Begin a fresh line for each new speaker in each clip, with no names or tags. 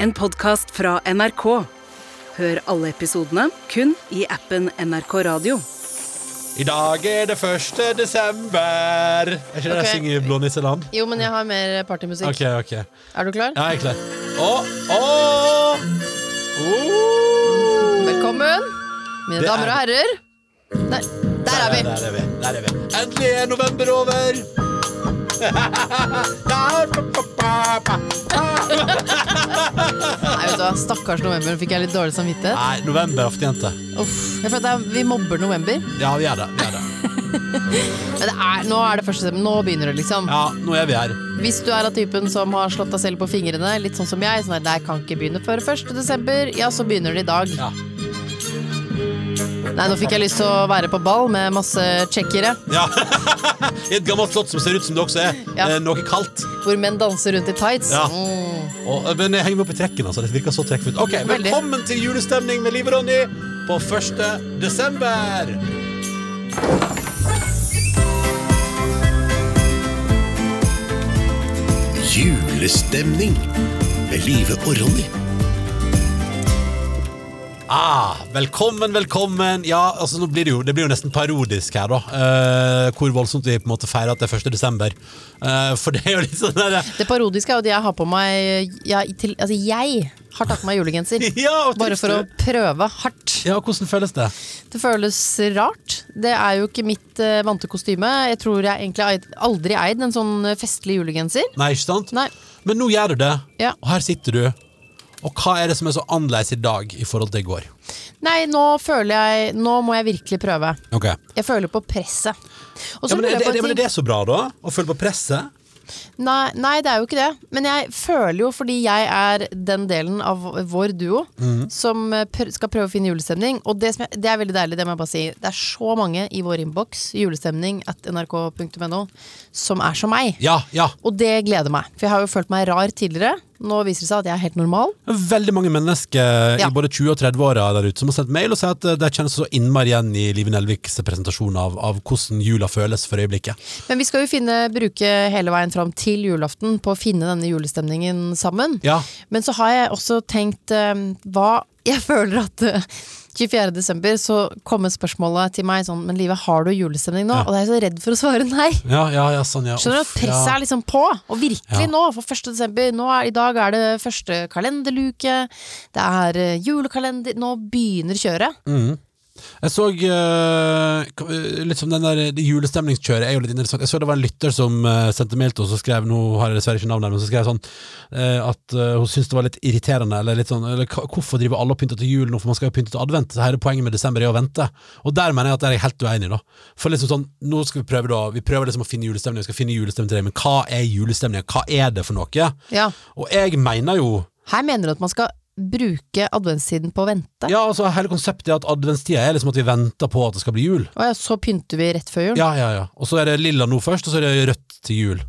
En podkast fra NRK. Hør alle episodene kun i appen NRK Radio.
I dag er det 1. desember. Er ikke det
Ok.
det synger i Blå nisseland?
Jo, men jeg har mer partymusikk.
Ok, ok.
Er du klar?
Ja, jeg er klar. Å, å! Oh!
Velkommen, mine
Det
damer
er-
og herrer. Der, der er vi.
Der er vi. Der er vi. Endelig er november over.
Nei, vet du hva, Stakkars november, nå fikk jeg litt dårlig samvittighet.
Nei, november er fortjente.
Uff, jeg føler at jeg, Vi mobber november.
Ja, vi er det. Vi er det.
Men det er, nå er det første september. Nå begynner det, liksom.
Ja, nå er vi her.
Hvis du er av typen som har slått deg selv på fingrene, litt sånn som jeg, sånn at jeg kan ikke begynne før 1. desember, ja, så begynner det i dag.
Ja.
Nei, nå fikk jeg lyst til å være på ball med masse tsjekkere,
ja. I et gammelt slott som ser ut som det også er.
Ja.
Eh, Noe kaldt.
hvor menn danser rundt i tights.
Ja.
Mm.
Og, eh, men jeg henger meg opp i trekken, altså. Det virker så trekkfullt. Ok,
Veldig.
Velkommen til julestemning med Liv og Ronny på 1. desember.
Julestemning med Live og Ronny.
Ah, velkommen, velkommen. Ja, altså nå blir det jo, det blir jo nesten parodisk her, da. Eh, hvor voldsomt vi på en måte feirer at det er 1. desember. Eh, for det er jo litt sånn der
Det parodiske er jo at jeg har på meg jeg, til, Altså, jeg har tatt på meg julegenser.
Ja, og
Bare
trivs
for å
du?
prøve hardt.
Ja, hvordan føles det?
Det føles rart. Det er jo ikke mitt eh, vante kostyme. Jeg tror jeg egentlig har eid- aldri eid en sånn festlig julegenser.
Nei, ikke sant?
Nei.
Men nå gjør du det,
Ja.
og her sitter du. Og hva er det som er så annerledes i dag i forhold til i går?
Nei, nå føler jeg Nå må jeg virkelig prøve.
Ok.
Jeg føler på presset. Og
Ja,
så
men,
lurer
er
jeg
det,
på
det,
en
men er
ting.
det så bra, da? Å føle på presset?
Nei, nei, det er jo ikke det. Men jeg føler jo, fordi jeg er den delen av vår duo
Mhm.
som eh, pr skal prøve å finne julestemning. Og det, som jeg, det er veldig deilig, det må jeg bare si. Det er så mange i vår innboks, julestemning at nrk.no, som er som meg.
Ja, ja.
Og det gleder meg. For jeg har jo følt meg rar tidligere. Nå viser det seg at jeg er helt normal.
Det er Veldig mange mennesker i
Ja.
både 20- og 30-åra der ute som har sendt mail og sier at eh, de kjenner seg så innmari igjen i Live Nelviks presentasjon av, av hvordan jula føles for øyeblikket.
Men vi skal jo finne, bruke hele veien fram til julaften på å finne denne julestemningen sammen.
Ja.
Men så har jeg også tenkt eh, hva Jeg føler at eh, 24. desember så kommer spørsmålet til meg sånn Men Live, har du julestemning nå?
Ja.
Og da er jeg så redd for å svare nei.
Ja, ja, ja, sånn, ja.
Skjønner du at
Uff,
presset
ja.
er liksom på? Og virkelig
Ja.
nå, for 1. desember. Nå er, I dag er det første kalenderluke. Det er eh, julekalender. Nå begynner kjøret.
Mm. Jeg så eh, k- eh, litt som den der det julestemningskjøret er jo litt interessant. Jeg så det var en lytter som eh, sendte mail til oss og skrev nå har jeg dessverre ikke navnet, her, men så skrev sånn eh, at eh, hun syntes det var litt irriterende. Eller litt sånn, eller, hva- hvorfor driver alle og pynter til jul nå, for man skal jo pynte til advent? Så Hele poenget med desember er å vente. Og der mener jeg at der er jeg helt uenig, da. For liksom sånn, nå skal vi prøve da, vi prøver liksom å finne julestemning, vi skal finne julestemning til deg, men hva er julestemning? Hva er det for noe?
Ja.
Og jeg mener jo
Her mener du at man skal bruke adventstiden på å vente.
Ja, altså hele konseptet er at adventstida er liksom at vi venter på at det skal bli jul.
Og ja, så pynter vi rett før jul.
Ja, ja, ja. Og så er det lilla nå først, og så er det rødt til jul.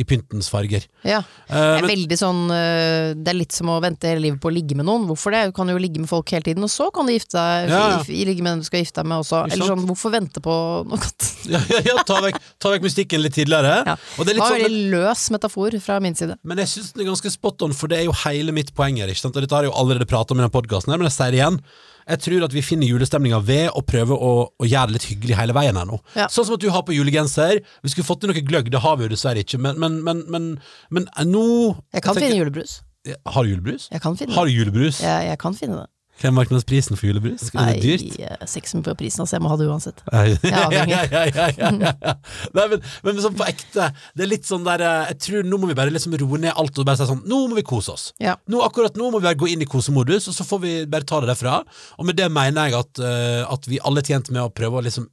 I pyntens farger.
Ja.
Eh,
Det er
men,
veldig sånn øh, Det er litt som å vente hele livet på å ligge med noen. Hvorfor det? Du kan jo ligge med folk hele tiden, og så kan du gifte deg
Ja, ja.
i- i- ligge med den du skal gifte deg med også.
Ikke
Eller
sant?
sånn, hvorfor vente på noe godt?
ja, ja, ja, ta vekk, ta vekk mystikken litt tidligere.
Ja.
Og det
Det
er litt
var
sånn,
en
men,
veldig løs metafor fra min side.
men jeg syns den er ganske spot on, for det er jo hele mitt poeng her. Ikke sant? Og dette har jeg jo allerede prata om i denne podkasten, men jeg sier det igjen. Jeg tror at vi finner julestemninga ved å prøve å, å gjøre det litt hyggelig hele veien her nå.
Ja.
Sånn som at du har på julegenser. Vi skulle fått til noe gløgg, det har vi jo dessverre ikke, men, men, men, men, men eh, nå
Jeg kan
tenker-
finne julebrus.
Har du julebrus?
Jeg kan finne det.
Har du julebrus?
Jeg, jeg kan finne det.
Hvem markedsfører prisen for julebrus? Er det dyrt?
Nei, eh, seks på prisen, altså. Jeg må ha det uansett.
Nei. ja,
Ja, avhengig. Mm.
ja, ja, ja, ja, ja. Nei, men, men sånn på ekte Det er litt sånn der eh, Jeg tror nå må vi bare liksom roe ned alt og bare si sånn Nå må vi kose oss
Ja.
nå, Akkurat nå må vi bare gå inn i kosemodus Og så får vi bare ta det derfra Og med det mener jeg at, eh, at vi alle er tjent med å prøve å liksom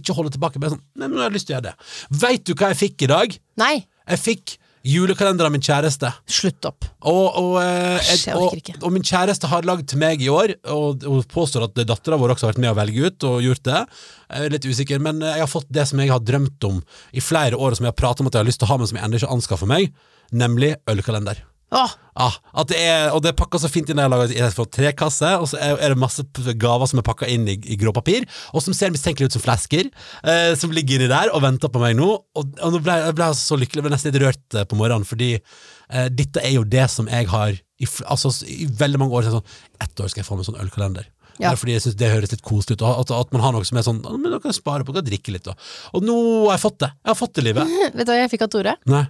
Ikke holde tilbake Bare sånn Nei, men nå har jeg lyst til å gjøre det Vet du hva jeg fikk i dag?
Nei,
Jeg fikk julekalender av min kjæreste
slutt opp.
og, og, eh,
Æsj, jeg
et- og,
orker ikke.
og min kjæreste har lagd til meg i år, og hun påstår at dattera vår også har vært med å velge ut og gjort det. Jeg er litt usikker, men eh, jeg har fått det som jeg har drømt om i flere år, og som jeg har pratet om at jeg har lyst til å ha, men som jeg ennå ikke har anskaffa meg, nemlig ølkalender.
Åh,
Ah, at det er, og det er pakka så fint inn. Jeg har laget- jeg har fått tre kasser, og så er, er det masse p- gaver som er pakka inn i, i grå papir, og som ser mistenkelig ut som flasker, eh, som ligger inni der og venter på meg nå. Og, altså og nå ble jeg, jeg ble så lykkelig, jeg ble nesten litt rørt eh, på morgenen, fordi eh, dette er jo det som jeg har i, fl- altså, s- i veldig mange år. Så er det sånn, ett år skal jeg få meg sånn ølkalender.
Ja.
Det er fordi jeg synes det høres litt koselig ut. og At, at man har noe som er sånn «Å, men da kan jeg spare på, kan jeg drikke litt. Da. Og nå har jeg fått det! Jeg har fått det, livet.
Vet du hva jeg fikk av Tore?
Nei.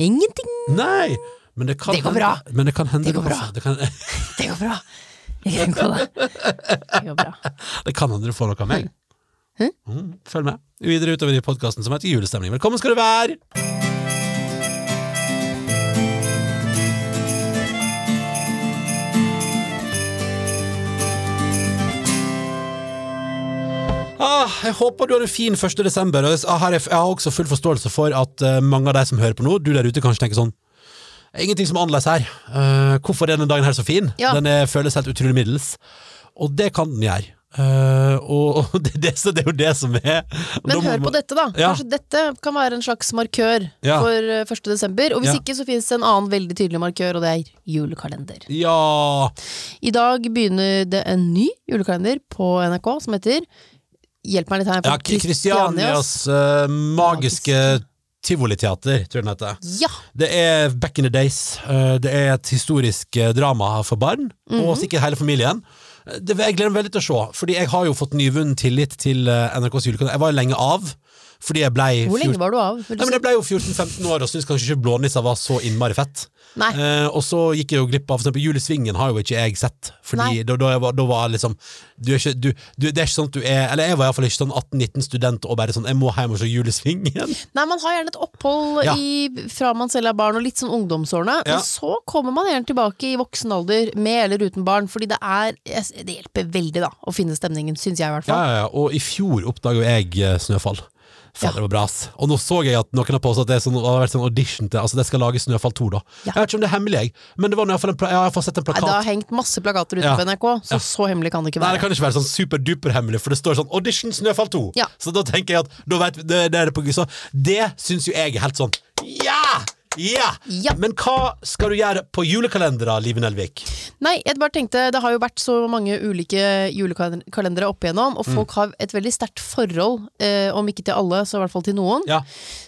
Ingenting!
Nei. Men det kan
Det går
hende-
bra.
Men det kan hende
Det går
passer.
bra.
Det kan,
Det går bra. Jeg kan gå, da. Det går bra.
Det kan hende du får noe av meg.
Hæ?
Mm, følg med videre utover i podkasten som heter Julestemning. Velkommen skal du være! Ah, jeg håper du har en fin 1. desember. og jeg- Ah, her er, jeg har også full forståelse for at eh, mange av de som hører på nå, du der ute, kanskje tenker sånn Ingenting som er annerledes her. Eh, hvorfor er denne dagen her så fin?
Ja.
Den er, føles helt utrolig middels. Og det kan den gjøre. Eh, og og det, det, så det er jo det som er
Men hør på dette, da.
Ja.
Kanskje dette kan være en slags markør
Ja.
for eh, 1. desember. Og hvis
Ja.
ikke, så finnes det en annen veldig tydelig markør, og det er julekalender.
Ja!
I dag begynner det en ny julekalender på NRK som heter Hjelp meg litt her.
ja
for
Kristianias eh, magiske
Magiske.
tivoliteater, tror jeg den heter.
Ja!
Det er Back in the Days. Eh, Det er et historisk eh, drama for barn,
Mhm.
og sikkert hele familien. Eh, Det, jeg gleder meg veldig til å se, Fordi jeg har jo fått nyvunnen tillit til eh, NRKs julekalender. Jeg var jo lenge av, fordi jeg blei
Hvor lenge
14
var du av? vil du
Nei, men
si?
jeg ble jo 14-15 år og syntes kanskje ikke Blånissa var så innmari fett.
Nei.
Eh, og så gikk jeg jo glipp av for eksempel Julesvingen har jo ikke jeg sett. Fordi
Nei.
da, da, jeg var, da var jeg liksom du er ikke, du, du, Det er ikke sånn at du er Eller jeg var iallfall ikke sånn 18-19 student og bare sånn Jeg må hjem og se Julesvingen.
Nei, man har gjerne et opphold
Ja.
i, fra man selv er barn og litt sånn ungdomsårene,
Ja.
men så kommer man gjerne tilbake i voksen alder, med eller uten barn, fordi det er jeg- Det hjelper veldig, da, å finne stemningen, syns jeg i hvert
Ja,
fall.
ja, ja. Og i fjor oppdaga jeg eh, Snøfall. Fader, det var bra, ass. Og nå så jeg at noen har påstått at det, er sånn, det har vært sånn audition til Altså, det skal lage Snøfall 2, da.
Ja.
Jeg vet ikke om det er hemmelig, jeg, men det var nå i hvert fall en pla- jeg har iallfall sett en
Nei,
plakat.
det har hengt masse plakater ute
Ja.
på NRK, så så hemmelig kan det ikke
Nei, det
være.
kan ikke være sånn superduper hemmelig, for det står sånn 'Audition Snøfall 2'.
Ja.
Så da tenker jeg at da vet vi, det, det er det på Så det syns jo jeg er helt sånn Ja! Ja!
Ja.
Men hva skal du gjøre på julekalendera, Live Nelvik?
Nei, jeg bare tenkte, det har jo vært så mange ulike julekalendere opp igjennom,
Mm.
og folk har et veldig sterkt forhold, eh, om ikke til alle, så i hvert fall til noen.
Ja.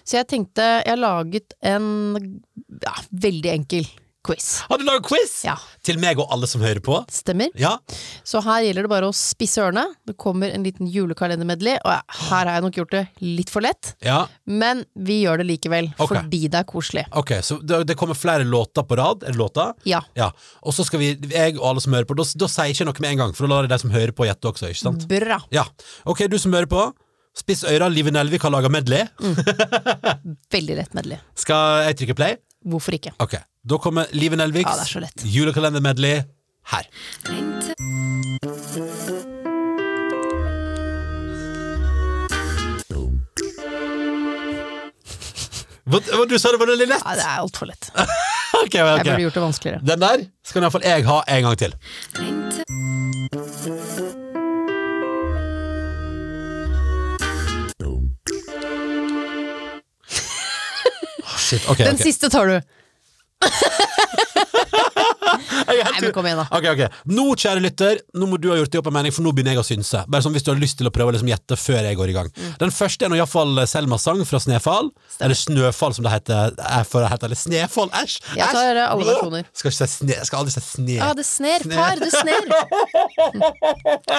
Så jeg tenkte, jeg har laget en ja, veldig enkel quiz.
Har du laget quiz?
Ja.
Til meg og alle som hører på?
Stemmer?
Ja.
Så her gjelder det bare å spisse ørene. Det kommer en liten julekalendermedley, og jeg- her har jeg nok gjort det litt for lett.
ja.
Men vi gjør det likevel,
Ok.
fordi det er koselig.
Ok, så det, det kommer flere låter på rad. Er det låter?
Ja.
Ja. Og så skal vi, jeg og alle som hører på, da, da sier jeg ikke noe med en gang, for da lar jeg de som hører på, gjette også, ikke sant?
Bra.
Ja. Ok, du som hører på. Spiss øyra, Live Nelvik har laga medley.
Mm. Veldig lett medley.
Skal jeg trykke play?
Hvorfor ikke?
Ok, da kommer Live
Ja, det er
Nelviks
så lett.
julekalendermedley her. Hva, hva, du sa det var veldig lett?
Ja, det er altfor lett.
Ok,
Jeg burde
ok.
gjort det vanskeligere.
Den der skal i hvert fall jeg ha en gang til. Åh, Shit, ok,
Den
ok.
siste tar du.
Jeg er
Nei,
helt
men
u-
kom igjen, da.
Ok, ok. Nå, kjære lytter, nå må du ha gjort deg opp en mening, for nå begynner jeg å synse. Bare sånn hvis du har lyst til å prøve å liksom gjette før jeg går i gang.
Mm.
Den første er nå iallfall Selmas sang fra Snefall. Eller Snøfall, som det heter. Er for det heter eller Snefall, æsj!
Jeg
æsj.
tar, eh, alle
Blå.
versjoner.
Skal, ikke si sne, jeg skal aldri si sne.
Ja, Ah, det sner, far, det sner. Mm.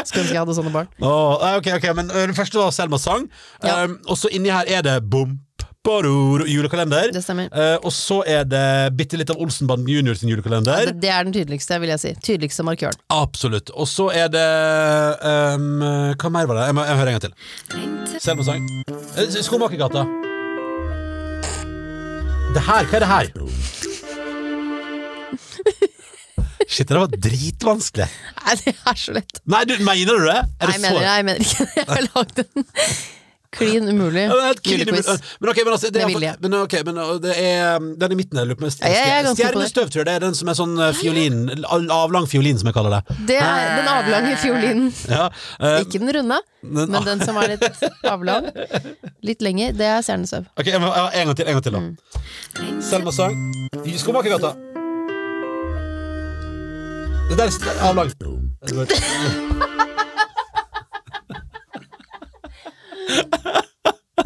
Skulle ønske jeg hadde sånne barn.
Åh, eh, ok, ok, men eh, Den første var Selmas sang.
Ja.
Um, og så inni her er det Bump. Baror, julekalender.
Det stemmer.
Eh, og så er det bitte litt av Olsenbanden junior sin julekalender.
Det, det er den tydeligste, vil jeg si. Tydeligste markøren.
Absolutt. Og så er det ehm, Hva mer var det? Jeg, må, jeg hører en gang til. Selma sang. Eh, Skomakergata. Det her, hva er det her? Shit, det der var dritvanskelig.
Nei, det er så lett.
Nei, du, mener du det? Er det
Nei, jeg mener det, jeg mener ikke det. Jeg har lagd en klin umulig
Ja, det er helt klin-
julequiz.
Men ok, men altså det er,
Med
i hvert fall- men, ok, men uh, det er um, Den i midten her, lurer på meg.
Ja, jeg er ganske imponert.
Stjernestøv, tror jeg. Det er den som er sånn uh, fiolin al- Avlang fiolin, som jeg kaller det.
Det er den avlange fiolinen.
Ja, eh,
Ikke den runde, men den som er litt avlang. Litt lenger, det er stjernestøv.
Ok, jeg må, jeg har en gang til, en gang til da
Mm.
Selma sang Skomakergata Det der er st- avlang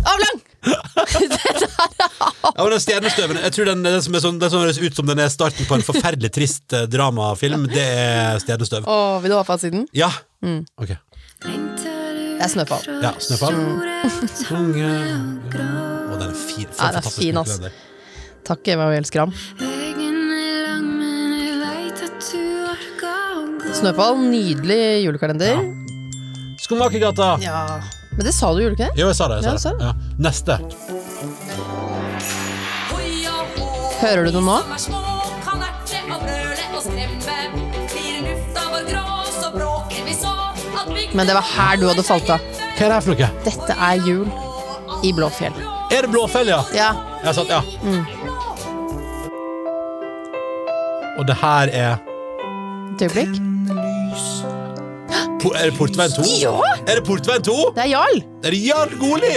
Avlang! Det der er
Ja, og den stjernestøven Jeg tror den, den, som er sånn, den som høres ut som den er starten på en forferdelig trist eh, dramafilm, det er stjernestøv.
Å, vil du ha fasiten?
Ja.
Mm.
Ok.
Det er Snøfall.
Ja, Snøfall. Konge. Å, den er fin. For
Mm. Ja,
en
den er
fantastisk
fin, ass.
kulturkalender.
Takk, Emma og Elskram. Snøfall, nydelig julekalender.
Skomakergata.
Ja. Men det sa du, gjorde du ikke det?
Jo, jeg sa det. Jeg sa det.
Ja,
Ja. Neste.
Hører du det nå? Men det var her du hadde falt av.
Hva er det her for noe?
Dette er jul i Blåfjell.
Er det Blåfell, ja?
Ja. Mm.
Jeg har satt, ja. Og det her er
Et øyeblikk.
Po- Er det Portveien 2?
Ja!
Er det Portveien 2?
Det er Jarl!
Er det Jarl Goli?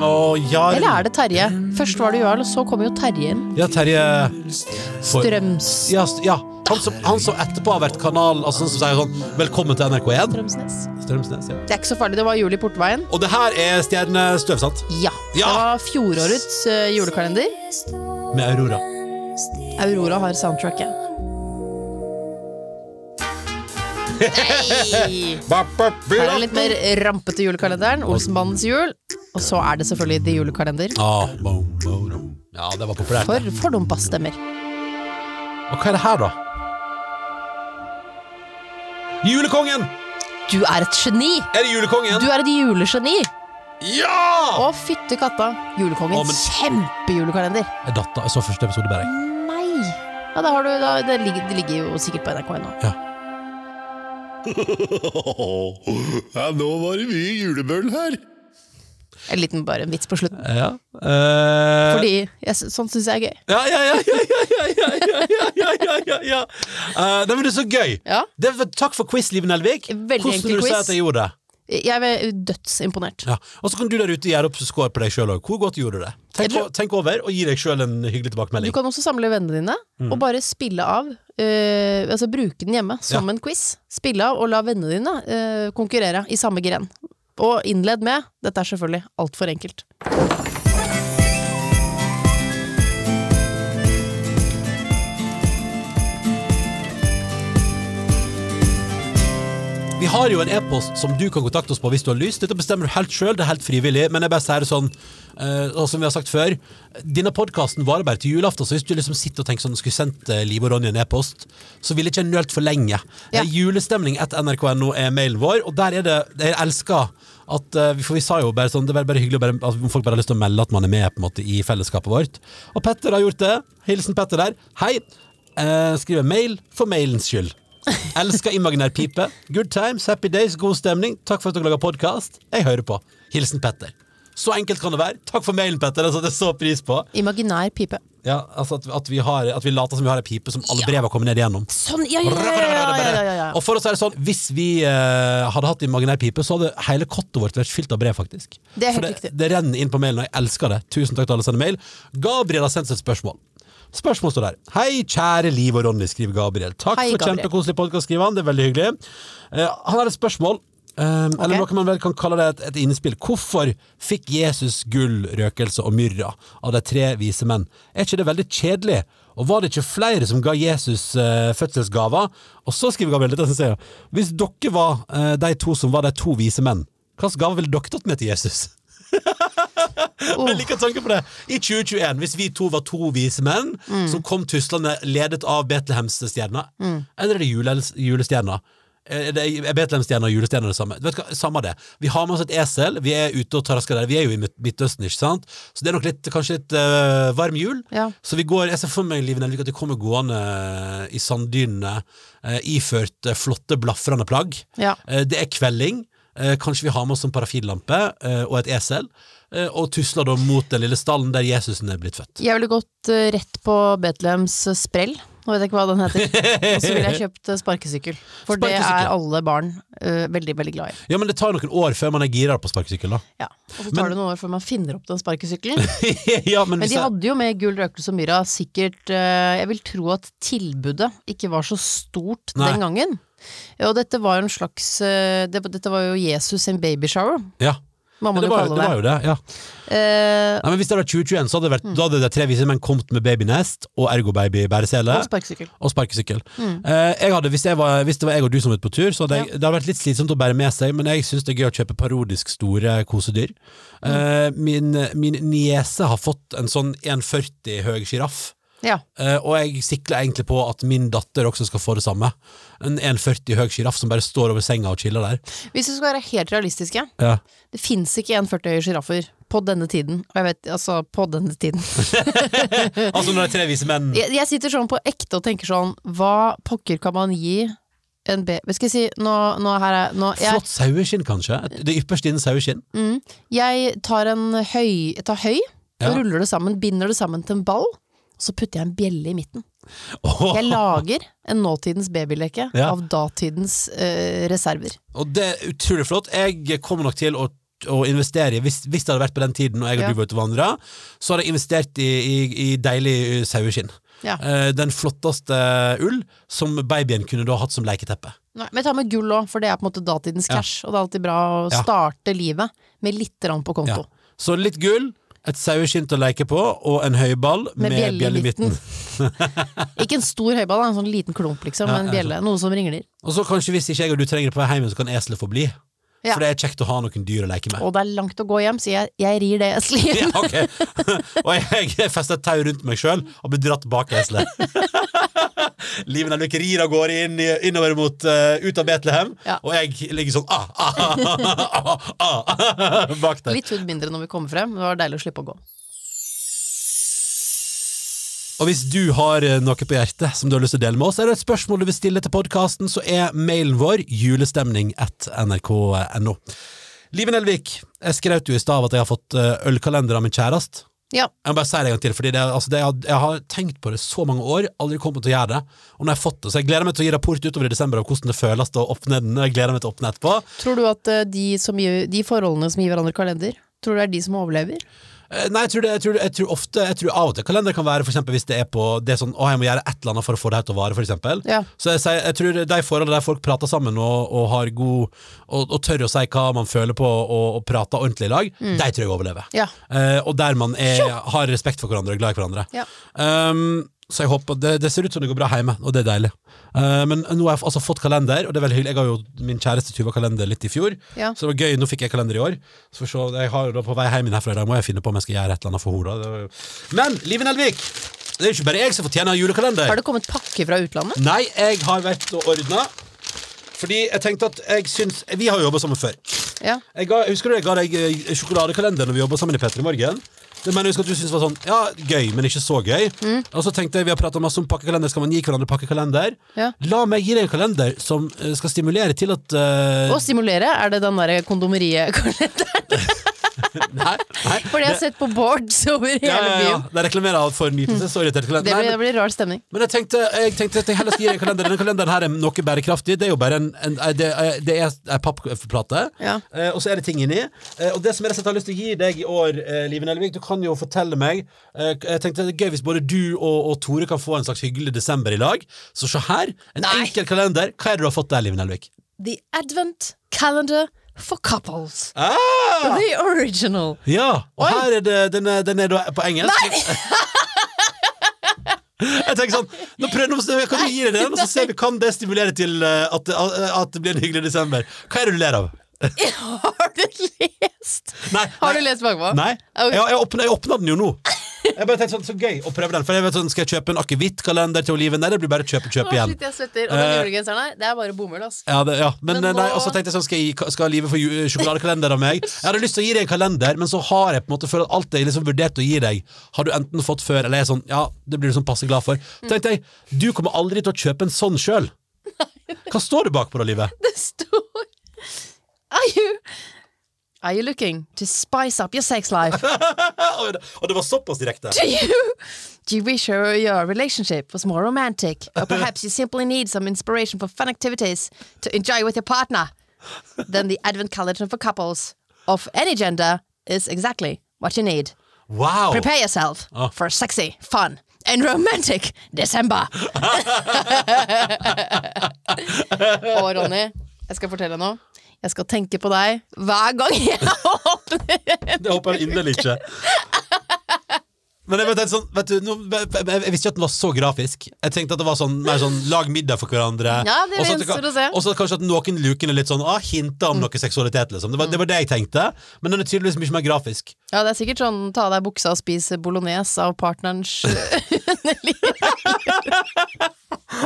Å, Jarl
Eller er det Terje? Først var det Jarl, og så kom jo Terje inn.
Ja, Terje For-
Strøms.
Ja, st- ja. Han, som, han som etterpå har vært kanal Altså han som sier sånn Velkommen til NRK1
Strømsnes.
Strømsnes, ja
Det er ikke så farlig, det var jul i Portveien.
Og det her er stjernestøv, sant?
Ja. Det
Ja.
var fjorårets eh, julekalender.
Med Aurora
Aurora har soundtracket. Nei! Her er den litt mer rampete julekalenderen. Olsenbandens jul. Og så er det selvfølgelig The Julekalender.
ah, boom, boom, boom. Ja, det var populært
For fordumpa stemmer.
Og hva er det her da? Julekongen!
Du er et geni!
Er det julekongen?
Du er et julegeni!
Ja!
Å, fytti katta!
Å, men-
Julekongens kjempejulekalender.
Jeg datta, jeg så første episode bare jeg.
Nei! Ja, da har du, da, det, ligger, det ligger jo sikkert på nrk.no.
Ja.
Ja, nå var det mye julebøll her.
En liten bare en vits på slutten.
Ja. Eh,
Fordi jeg, s- sånt syns jeg er gøy.
Ja, ja, ja, ja, ja, ja, ja, ja, ja, ja, ja, ja. Eh, nei, men det er så gøy.
Ja.
Det, var- takk for quiz, Liv Nelvik.
Veldig
Hvordan
enkel
vil du si
quiz.
at jeg gjorde det?
Jeg er dødsimponert.
Ja. Og så kan du der ute gjøre opp score på deg sjøl òg. Hvor godt gjorde du det? Tenk,
Jeg tror-
o- tenk over, og gi deg sjøl en hyggelig
Du
tilbakemelding.
kan også samle vennene dine og bare spille av. eh, altså Bruke den hjemme som en quiz. Spille av og la vennene dine eh, konkurrere i samme gren. Og innled med Dette er selvfølgelig altfor enkelt.
Vi har jo en e-post som du kan kontakte oss på hvis du har lyst. Dette bestemmer du helt sjøl, det er helt frivillig, men jeg bare sier det sånn, eh, og som vi har sagt før, denne podkasten varer bare til julaften, så hvis du liksom sitter og tenker sånn, skulle sendt eh, Liv og Ronny en e-post, så ville ikke jeg nølt for lenge.
Ja.
Ja. Julestemning etter nrk.no er mailen vår, og der er det Jeg elsker at eh, vi- For vi sa jo bare sånn, det er bare hyggelig å bare, at folk bare har lyst til å melde at man er med på en måte i fellesskapet vårt. Og Petter har gjort det. Hilsen Petter der. Hei. Eh, skriver mail for mailens skyld. Elsker imaginær pipe. Good times, happy days, god stemning. Takk for at dere lager podkast. Jeg hører på. Hilsen Petter. Så enkelt kan det være. Takk for mailen, Petter. Det satte jeg så pris på.
Imaginær pipe.
Ja, altså at, at, vi har, at vi later som vi har ei pipe som alle brev har kommet ned igjennom.
Sånn! Ja, ja, ja! ja, ja, ja, ja, ja.
Og for oss er det sånn, Hvis vi eh, hadde hatt imaginær pipe, så hadde hele kottet vårt vært fylt av brev. faktisk
Det er helt
For det,
riktig.
det renner inn på mailen, og jeg elsker det. Tusen takk til alle som sender mail. Gabriel har sendt et spørsmål. Spørsmålet står der. Hei, kjære Liv og Ronny, skriver Gabriel. Takk
Hei,
for
Gabriel.
kjempekoselig podkast, skriver han. Det er veldig hyggelig. Eh, han har et spørsmål. eh, Eller noe man vel kan kalle det et, et innspill. Hvorfor fikk Jesus gull, røkelse og myrra av de tre vise menn? Er ikke det veldig kjedelig? Og var det ikke flere som ga Jesus eh, fødselsgaver? Og så skriver Gabriel dette, synes jeg. Hvis dere var eh, de to som var de to vise menn, hvilken gave ville dere tatt med til Jesus?
Oh.
Jeg liker tanken på det. I 2021, hvis vi to var to vise menn som kom tuslende ledet av Betlehemsstjerna, eller er det jule, julestjerna? Er det- er Betlehemsstjerna og julestjerna det samme? Du Vet hva, samme det. Vi har med oss et esel, vi er ute og trasker der. Vi er jo i Midt- Midtøsten, ikke sant? Så det er nok litt, kanskje litt øh, varm jul.
Ja.
Så vi går, jeg ser for meg Liv Nelvik at vi kommer gående i sanddynene, eh, iført eh, flotte, blafrende plagg.
Ja.
Eh, Det er kvelding. Eh, Kanskje vi har med oss en parafinlampe eh, og et esel, eh, og tusler da mot den lille stallen der Jesusen er blitt født.
Jeg ville gått eh, rett på Betlehems eh, sprell. Nå vet jeg ikke hva den heter. Og så ville jeg kjøpt eh, sparkesykkel. For det
Sparkesykkel.
er alle barn eh, veldig, veldig glad i.
Ja, men det tar noen år før man er gira på sparkesykkel, da.
Ja. Og så tar det noen år før man finner opp den sparkesykkelen.
ja, men
Men
hvis
de
jeg,
hadde jo med gull, røkelse og myrra sikkert eh, Jeg vil tro at tilbudet ikke var så stort
Nei.
den gangen. Og dette var jo en slags eh, det, Dette var jo Jesus sin babyshower.
ja. Ja,
må man
det,
jo
var,
kalle
det
det. Mm.
var jo det, ja.
Eh,
Nei, men Hvis det hadde vært 2021, så hadde det vært, da hadde de tre vise menn kommet med babynest og ergo-baby bæresele.
og sparkesykkel.
Og sparkesykkel. Eh, jeg hadde, hvis, jeg var, hvis det var jeg og du som var ute på tur, så hadde jeg, det hadde vært litt slitsomt å bære med seg, men jeg syns det er gøy å kjøpe parodisk store kosedyr. Eh, min, min niese har fått en sånn 1,40 høy sjiraff.
Ja.
Eh, og jeg sikler egentlig på at min datter også skal få det samme. En 1,40 høy sjiraff som bare står over senga og chiller der.
Hvis vi skal være helt realistiske,
Ja.
det fins ikke 1,40 høye sjiraffer på denne tiden. Og jeg vet, altså, på denne tiden.
Altså når det er tre vise menn
Jeg, jeg sitter sånn på ekte og tenker sånn, hva pokker kan man gi en baby Skal jeg si, nå, nå her er nå, jeg,
Flott saueskinn, kanskje? Det ypperste innen saueskinn.
mm, jeg tar en høy, jeg tar høy
Ja.
og ruller det sammen, binder det sammen til en ball, og så putter jeg en bjelle i midten.
Åh,
Jeg lager en nåtidens babyleke
Ja.
av datidens eh, reserver.
og det er utrolig flott. Jeg kommer nok til å å investere i, hvis, hvis det hadde vært på den tiden og jeg og
Ja.
du var ute og vandra, så hadde jeg investert i, i, i deilig saueskinn.
Ja.
Eh, den flotteste ull som babyen kunne da hatt som leketeppe.
Nei, men ta med gull òg, for det er på en måte datidens
Ja.
cash. Og det er alltid bra å
Ja.
starte livet med litt rann på konto.
Ja. Så litt gull, et saueskinn til å leke på, og en høyball med, bjelle i midten.
Ikke en stor høyball, da, en sånn liten klump, liksom, men en bjelle. Noe som ringler.
Og så kanskje hvis ikke jeg og du trenger det på vei hjem, så kan eselet få bli.
Ja.
For det er kjekt å ha noen dyr å leke med.
Og det er langt å gå hjem, så jeg, jeg rir det eselet
Ja,
igjen.
ok. Og jeg festa et tau rundt meg sjøl og ble dratt bak eselet. Liven og Lykke rir av gårde inn, i- innover mot eh, ut av Betlehem,
Ja.
og jeg ligger sånn ah, ah, ah, ah, ah, bak der.
Litt hud mindre når vi kommer frem, men det var deilig å slippe å gå.
Og hvis du har eh, noe på hjertet som du har lyst til å dele med oss, er det et spørsmål du vil stille til podkasten, så er mailen vår julestemning at nrk.no. Liven Elvik, jeg skrøt jo i stad av at jeg har fått eh, ølkalender av min kjæreste.
Ja,
Jeg må bare si det en gang til, fordi det, altså det, jeg, har- jeg har tenkt på det så mange år, aldri kommet til å gjøre det. Og nå har jeg fått det, så jeg gleder meg til å gi rapport utover i desember av hvordan det føles å åpne den. og Jeg gleder meg til å åpne etterpå.
Tror du at eh, de, som gir, de forholdene som gir hverandre kalender, tror du det er de som overlever?
Eh, Nei, jeg tror, det, jeg, tror, jeg tror ofte Jeg tror av og til kalender kan være for eksempel hvis det er på Det er sånn, å jeg må gjøre et eller annet for å få det her til å vare for eksempel
Ja.
Så jeg, sier- jeg tror de forholdene der folk prater sammen og, og har god og, og tør å si hva man føler på og, og prater ordentlig i lag De tror jeg overlever
Mm. Ja.
Eh, Og der man er, har respekt for hverandre og er glad i hverandre
Ja.
Ehm, Så jeg håper det, det ser ut som det går bra hjemme Og det er deilig Eh, Men nå har jeg altså fått kalender Og det er veldig hyggelig Jeg har jo min kjæreste Tuva kalender litt i fjor
Ja.
så det var gøy, nå fikk jeg kalender i år. Så får vi se, jeg har jo da På vei hjem inn herfra i dag må jeg finne på om jeg skal gjøre et eller annet for henne. da. Det var jo- Men Liven Elvik, det er jo ikke bare jeg som fortjener julekalender.
Har det kommet pakke fra utlandet?
Nei, jeg har vært og ordna. Fordi jeg tenkte at jeg syns Vi har jo jobba sammen før.
Ja.
Jeg ga, husker du jeg ga deg eh, sjokoladekalender når vi jobba sammen i P3 Morgen? Det mener jeg husker at du syntes var sånn Ja, gøy, men ikke så gøy.
Mm.
Og så tenkte jeg vi har prata masse om pakkekalender, skal man gi hverandre pakkekalender?
Ja.
La meg gi deg en kalender som eh, skal stimulere til at eh,
Å stimulere, er det den derre kondomeriet-kalenderen?
Nei, nei.
For det har jeg sett på boards over hele
ja, ja, ja.
byen.
Det reklamerer alt for nytelse. Sorry til
Det
kalenderen.
blir,
Nei,
det
men,
blir rar stemning.
men jeg tenkte, jeg tenkte at jeg heller skal gi deg en kalender. Denne kalenderen her er noe bærekraftig. Det er jo bare en, en eh, Det er, det er en pappplate,
Ja.
eh, og så er det ting inni. Eh, og det som jeg rett og slett har lyst til å gi deg i år, eh, Liven Elvik, du kan jo fortelle meg eh, Jeg tenkte det er gøy hvis både du og, og Tore kan få en slags hyggelig desember i lag. Så se her. En
Nei.
enkel kalender. Hva er det du har fått der, Liven Elvik?
The Advent Calendar for Couples.
Ah!
The original.
Ja, og her er det Den er, den er da på engelsk. Jeg tenker sånn, nå prøv, nå, må- kan du gi deg den, og så ser vi kan det stimulere til eh, at, det- at det blir en hyggelig desember. Hva er det du ler av?
Har du lest?
Nei,
Har du
nei.
lest bakpå?
Nei,
Ok.
jeg, jeg, åpna, jeg åpna den jo nå. Jeg bare tenkte sånn, Så gøy å prøve den. For jeg vet sånn, Skal jeg kjøpe en akevittkalender til Oliven? Nei, det blir bare kjøpe,
Å,
kjøpe igjen. Eh.
shit, jeg svetter. Og den julegenseren her, det er bare bomull, ass.
Ja, det, ja. Men,
Men
eh, nei,
nå-
og så tenkte jeg sånn, skal, jeg, gi- skal livet få ju- sjokoladekalender av meg? Jeg hadde lyst til å gi deg en kalender, men så har jeg på en måte følt at alt jeg liksom vurderte å gi deg, har du enten fått før, eller er sånn, ja, det blir du sånn passe glad for. Tenkte jeg, du kommer aldri til å kjøpe en sånn sjøl. Hva står det bak på da, livet?
Det står Are you Are you looking to spice up your sex life?
og det- og det var såpass direkte.
Do you Do you wish your, your relationship was more romantic? Or perhaps you simply need some inspiration for fun activities to enjoy with your partner? Then the Advent calendar for couples of any gender is exactly what you need.
Wow!
Prepare yourself for sexy, fun, and romantic December. Og Ronny, jeg er skal fortelle deg noe. Jeg skal tenke på deg hver gang jeg åpner
Det håper jeg inderlig ikke. Men jeg, vet, sånn, vet du, nå, jeg, jeg, jeg visste ikke at den var så grafisk. Jeg tenkte at det var sånn, mer sånn lag middag for hverandre.
Ja,
Og
det
så at
gjenstår
kan-
å se. Mm.
Og så kanskje at noen luken er litt sånn ah, hinter om noe seksualitet. Liksom. Det, var, det var det jeg tenkte, men den er tydeligvis mye mer grafisk.
Ja, det er sikkert sånn ta av deg buksa og spis bolognese av partnerens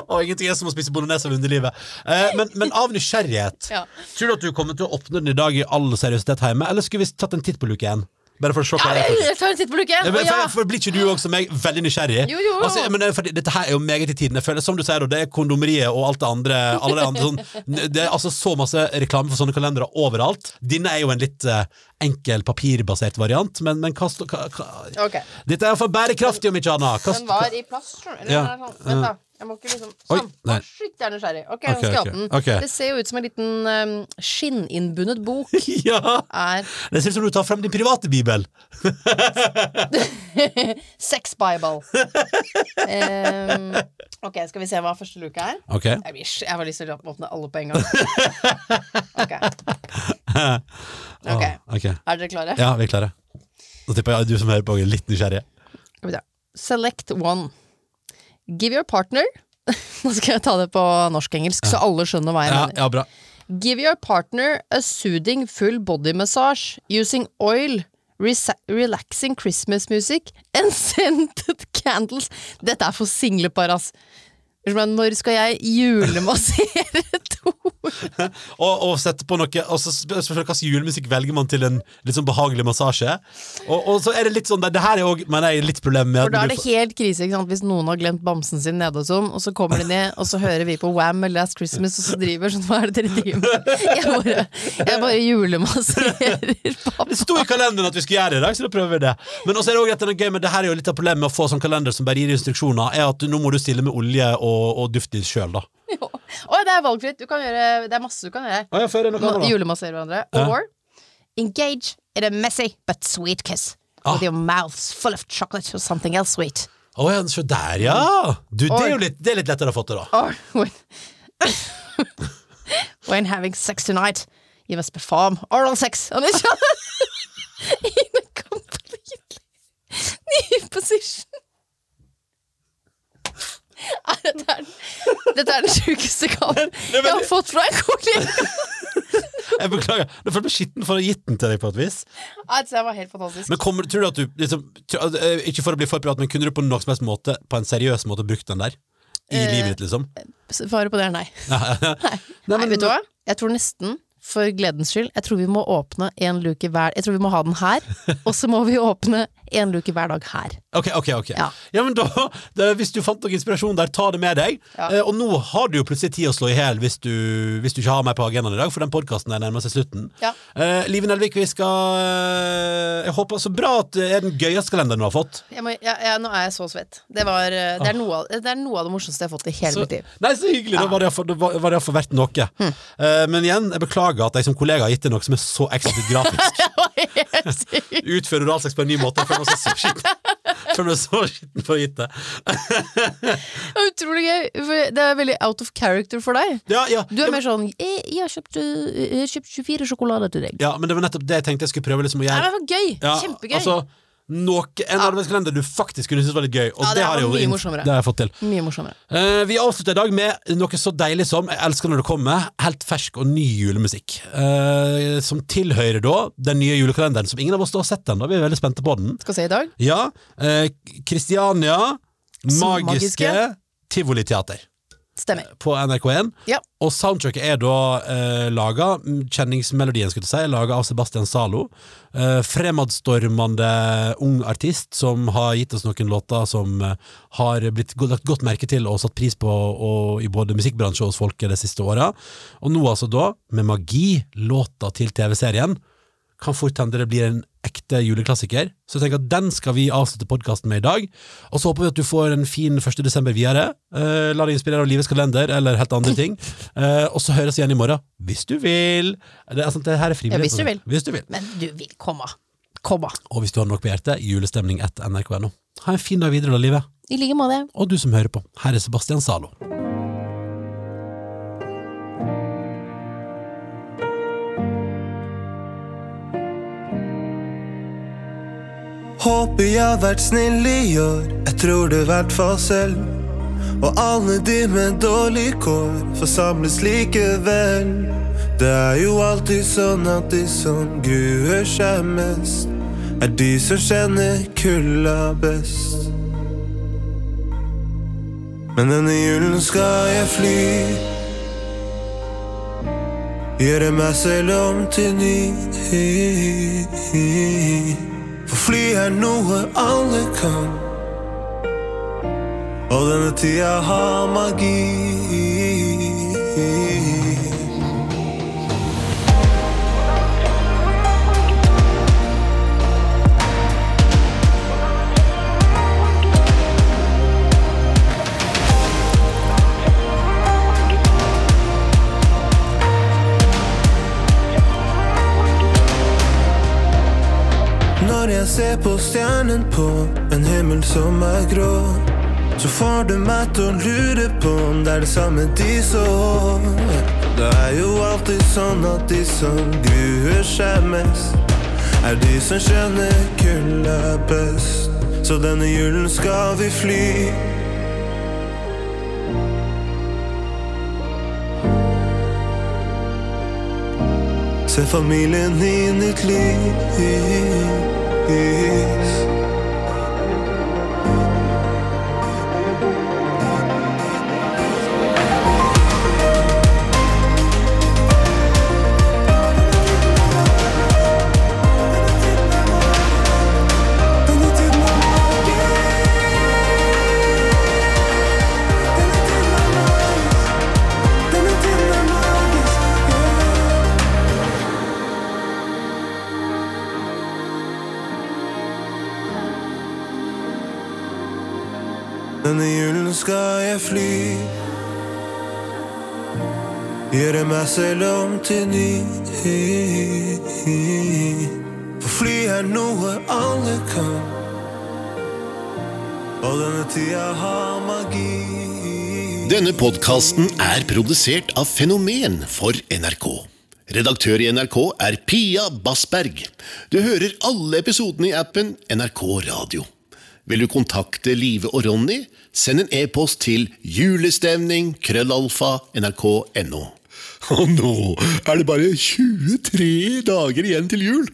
Og ingenting er som å spise bolognese av underlivet. Eh, men, men av nysgjerrighet,
Ja.
tror du at du kommer til å åpne den i dag i all seriøsitet hjemme, eller skulle vi tatt en titt på luke én? Bare for å se hva det er. for-
Jeg tar en titt på luken!
Ja, men,
Å, ja.
for, for Blir ikke du også meg veldig nysgjerrig?
Jo, jo.
Altså, men, det er fordi dette her er jo meget i tiden. Jeg føler, som du sier, da, det er kondomeriet og alt det andre. Alle de andre sånn, det er altså så masse reklame for sånne kalendere overalt. Dine er jo en litt eh, enkel papirbasert variant, men, men hva, stå- hva, hva
Ok.
Dette er for bærekraftig, om ikke annet. Hva,
Den var i plast, skjønner du. Eller
Ja.
den er sånn. Vent, da. Jeg må ikke liksom
Oi,
Sånn.
nei.
Å, shit, jeg er nysgjerrig. Ok,
Ok,
nå skal jeg
ok,
åpne den.
ok.
Det ser jo ut som en liten um, skinninnbundet bok.
ja.
Er
Det ser ut som du tar frem din private bibel.
Sex Bible. Em, ok, skal vi se hva første luke er?
Ok.
Jeg, blir, sj- jeg har lyst til å åpne alle på en gang. Ok, Ok.
Ah, ok.
Er dere klare?
Ja, vi er klare. Nå tipper jeg at du som hører på, er litt nysgjerrig.
Skal vi se. Select one. Give your partner Nå skal jeg ta det på norsk-engelsk, så alle skjønner hva jeg
Ja,
mener.
ja bra.
Give your partner a soothing full body massage using oil, resa- relaxing Christmas music and scented candles. Dette er for singlepar, ass. Unnskyld meg, Når skal jeg julemassere to?
og, og sette på noe Og så spør spør jeg hva slags julemusikk velger man til en litt sånn behagelig massasje. Og, og så er det litt sånn Det her er òg, mener jeg, litt problem med
For da
at
er det helt krise ikke sant? hvis noen har glemt bamsen sin nede hos dem, og så kommer de ned, og så hører vi på Wham eller Last Christmas, og så driver sånn, hva er det dere driver med? Jeg bare, jeg bare julemasserer
det
bamsen.
sto i kalenderen at vi skulle gjøre det i dag, så da prøver vi det. Men også er det også at det er gøy, men det her er jo litt av problemet med å få sånn kalender som bare gir instruksjoner, er at du, nå må du stille med olje og, og duftlys sjøl, da.
Å, det er valgfritt, du kan gjøre, det er masse du kan gjøre.
Å, ja, før er noe
Ma-
annet, da.
Julemassere hverandre.
Ja.
Or engage in a messy but sweet kiss.
Ah.
With your mouths full of chocolate or something else sweet.
Å ja, se der, ja! Du, det er jo
Oi.
litt, det er litt lettere å få til, da.
Or when, when having sex tonight, you must perform oral sex on each other in a completely new position. Nei, Dette er, den- dette er den sjukeste gaven jeg har fått fra en kollega.
Jeg beklager. Jeg føler meg skitten for å ha gitt den til deg, på et vis.
Nei, Altså, Det var helt fantastisk.
Men kommer, tror du at du liksom, tror- eh, Ikke for å bli for privat, men kunne du på noen som helst måte, på en seriøs måte, brukt den der? I
Eh,
livet ditt, liksom?
Svaret på det er nei.
Nei,
Nei,
men-
vet du hva? Jeg tror nesten, for gledens skyld, jeg tror vi må åpne en luke hver Jeg tror vi må ha den her, og så må vi åpne en luke hver dag her.
Ok, ok, ok Ja,
Ja.
men da, det, Hvis du fant noe inspirasjon der, ta det med deg.
Ja.
Eh, og nå har du jo plutselig tid å slå i hjel hvis, du- hvis du ikke har meg på agendaen i dag, for den podkasten nærmer seg slutten.
Ja.
Eh, Live Nelvik, vi skal eh, Jeg håper så bra at det er den gøyeste kalenderen du har fått.
Jeg må, ja, ja, nå er jeg så svett. Det, var, eh, det, er noe, av- det er noe av det morsomste jeg har fått i hele
Så,
mitt liv. Hm.
nei, så hyggelig! Da var det iallfall- da var var det iallfall verdt noe. Eh, men igjen, jeg beklager at jeg som kollega har gitt deg noe som er så eksplisitt grafisk.
Det var helt sykt.
Utføre oralsex på en ny måte. Jeg føler meg så skitten Jeg føler meg så skitten for å ha gitt det.
Det var Utrolig gøy. for Det er veldig out of character for deg.
Ja, ja.
Du er mer sånn eh, 'Jeg har kjøpt, eh, jeg har kjøpt 24 sjokolader til deg'.
ja, men det var nettopp det jeg tenkte jeg skulle prøve liksom å
Nei,
gjøre.
men det var gøy!
Ja,
Kjempegøy.
Altså, noe, en arbeidskalender du faktisk kunne synes var litt gøy. Og
Ja, det
det,
her
har jeg
var
jo
mye
inn-
morsommere.
det har jeg fått til.
Mye morsommere.
Eh, vi avslutter i dag med noe så deilig som Jeg elsker når det kommer helt fersk og ny julemusikk. Eh, som tilhører da den nye julekalenderen, som ingen av oss da har sett ennå. Vi er veldig spente på den.
Skal se i dag.
Ja, eh, Kristiania,
Som
Magiske,
magiske.
Tivoliteater
Stemmer.
på NRK1.
Ja.
Og soundtracket er da eh, laga Kjenningsmelodien skulle jeg si, laga av Sebastian Zalo. Eh, fremadstormende ung artist som har gitt oss noen låter som eh, har blitt go- lagt godt merke til og satt pris på og, i både musikkbransje og hos folket de siste åra. Og nå altså da, med magi, låta til TV-serien, kan fort hende det blir en ekte juleklassiker. Så jeg tenker at den skal vi avslutte podkasten med i dag. Og så håper vi at du får en fin 1. desember videre. Eh, la deg inspirere av livets kalender eller helt andre ting. Eh, og så høres vi igjen i morgen, hvis du vil. Det, er sant, det her er frivillig. altså.
Ja, hvis du vil.
Hvis du vil.
Men du vil komme. Komme.
Og hvis du har noe på hjertet, julestemning etter nrk.no. Ha en fin dag videre, da, livet.
I like måte.
Og du som hører på, her er Sebastian Zalo.
Håper jeg har vært snill i år. Jeg tror det hvert fall selv. Og alle de med dårlig kår får samles likevel. Det er jo alltid sånn at de som gruer seg mest, er de som kjenner kulda best. Men denne julen skal jeg fly. Gjøre meg selv om til ny. For fly er noe alle kan. Og denne tida har magi. Når jeg ser på stjernen på en himmel som er grå, så får du meg til å lure på om det er det samme de så. Det er jo alltid sånn at de som gruer seg mest, er de som skjønner kulda best. Så denne julen skal vi fly. Se familien i nytt lys. Denne julen skal jeg fly. Gjøre meg selv om til ny. For fly er noe alle kan. Og denne tida har magi.
Denne podkasten er produsert av Fenomen for NRK. Redaktør i NRK er Pia Bassberg. Du hører alle episodene i appen NRK Radio. Vil du kontakte Live og Ronny, send en e-post til julestemning krøllalfa nrk.no. Og nå er det bare 23 dager igjen til jul!